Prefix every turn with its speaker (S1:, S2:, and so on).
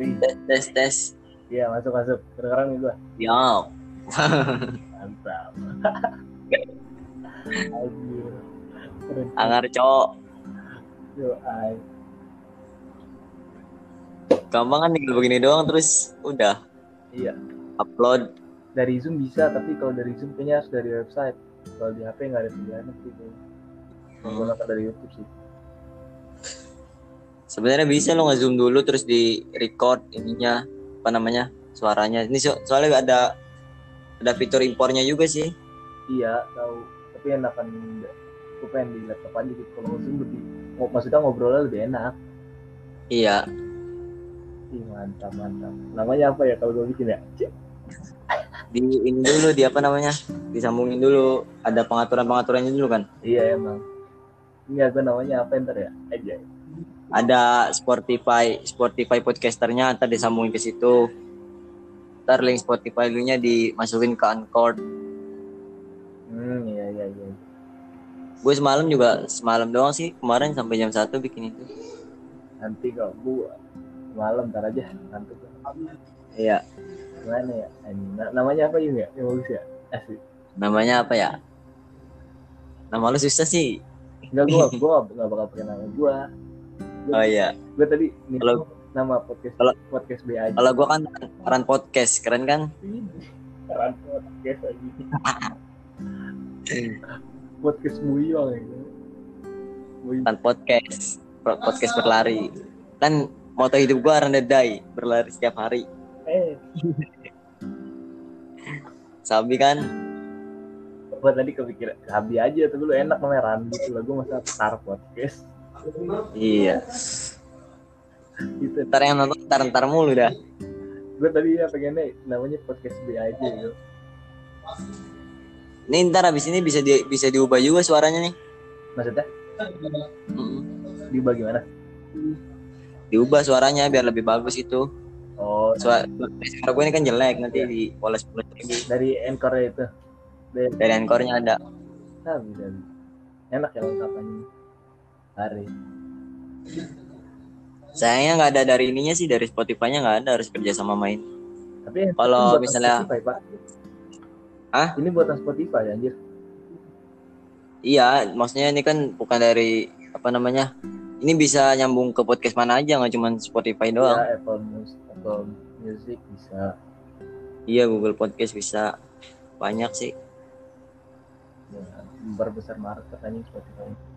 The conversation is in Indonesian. S1: Wih,
S2: Tes tes tes.
S1: iya masuk masuk. Kedengeran nih gua.
S2: Yo.
S1: Mantap. Anjir. Keren.
S2: Angar cowok.
S1: Doai.
S2: Gampang kan tinggal begini doang terus udah
S1: Iya.
S2: upload.
S1: Dari Zoom bisa, tapi kalau dari Zoom kayaknya harus dari website. Kalau di HP nggak ada pilihan gitu. Menggunakan dari YouTube sih.
S2: Sebenarnya bisa lo nge-zoom dulu terus di record ininya apa namanya? suaranya. Ini so- soalnya ada ada fitur impornya juga sih.
S1: Iya, tahu. Tapi enakan nggak. Gue pengen di laptop aja gitu. Kalau Zoom lebih, oh, maksudnya ngobrolnya lebih enak.
S2: Iya.
S1: Ih, mantap, mantap. Namanya apa ya kalau gue bikin ya? Cik.
S2: Di ini dulu di apa namanya? Disambungin dulu. Ada pengaturan-pengaturannya dulu kan.
S1: Iya, emang. Ini gue namanya apa ntar ya? Aja.
S2: Ada Spotify, Spotify podcasternya ntar disambungin ke situ. Ntar link Spotify dulunya dimasukin ke Anchor.
S1: Hmm, iya, iya, iya.
S2: Gue semalam juga semalam doang sih kemarin sampai jam 1 bikin itu.
S1: Nanti kalau gua malam ntar aja ngantuk.
S2: Iya.
S1: Gimana ya? Anjing. Na- namanya apa Yung ya? Yang bagus ya? Asik.
S2: Namanya apa ya? Nama lu susah sih.
S1: Enggak gua, gua nggak bakal pakai nama gua.
S2: Oh iya.
S1: Gua tadi nih
S2: Kalau-
S1: nama podcast
S2: kalau-
S1: podcast B aja.
S2: Kalau gua kan Taran podcast, keren kan?
S1: Sekarang podcast aja. podcast buyong ya. Buyong.
S2: Taran podcast. Pro- Podcast berlari. Kan moto hidup gua run the die, berlari setiap hari.
S1: Eh,
S2: Sabi kan?
S1: gua tadi kepikiran Sabi aja tapi lu enak namanya Randy gitu lah. Gua masa tar podcast
S2: Iya.
S1: gitu.
S2: Ntar yang nonton ntar ntar mulu dah.
S1: Gua tadi ya pengennya namanya podcast B aja gitu.
S2: Nih ntar habis ini bisa di, bisa diubah juga suaranya nih.
S1: Maksudnya
S2: Mm.
S1: di bagaimana?
S2: Diubah suaranya biar lebih bagus itu.
S1: Oh,
S2: Suara, suara gue ini kan jelek nanti dipoles-poles lagi.
S1: dari encore itu. Dari
S2: Dari anchornya ada.
S1: Sabi Sabi. Enak ya lengkapannya. Hari.
S2: Sayangnya nggak ada dari ininya sih dari Spotify-nya nggak ada harus kerja sama main.
S1: Tapi yang
S2: Kalau
S1: buatan
S2: misalnya-
S1: Spotify, Pak.
S2: Hah?
S1: Ini buatan Spotify anjir.
S2: Iya, maksudnya ini kan bukan dari apa namanya? Ini bisa nyambung ke podcast mana aja nggak cuma Spotify doang.
S1: Ya, Apple Music, Apple Music bisa.
S2: Iya Google Podcast bisa banyak sih.
S1: Ya, memperbesar market anjing Spotify.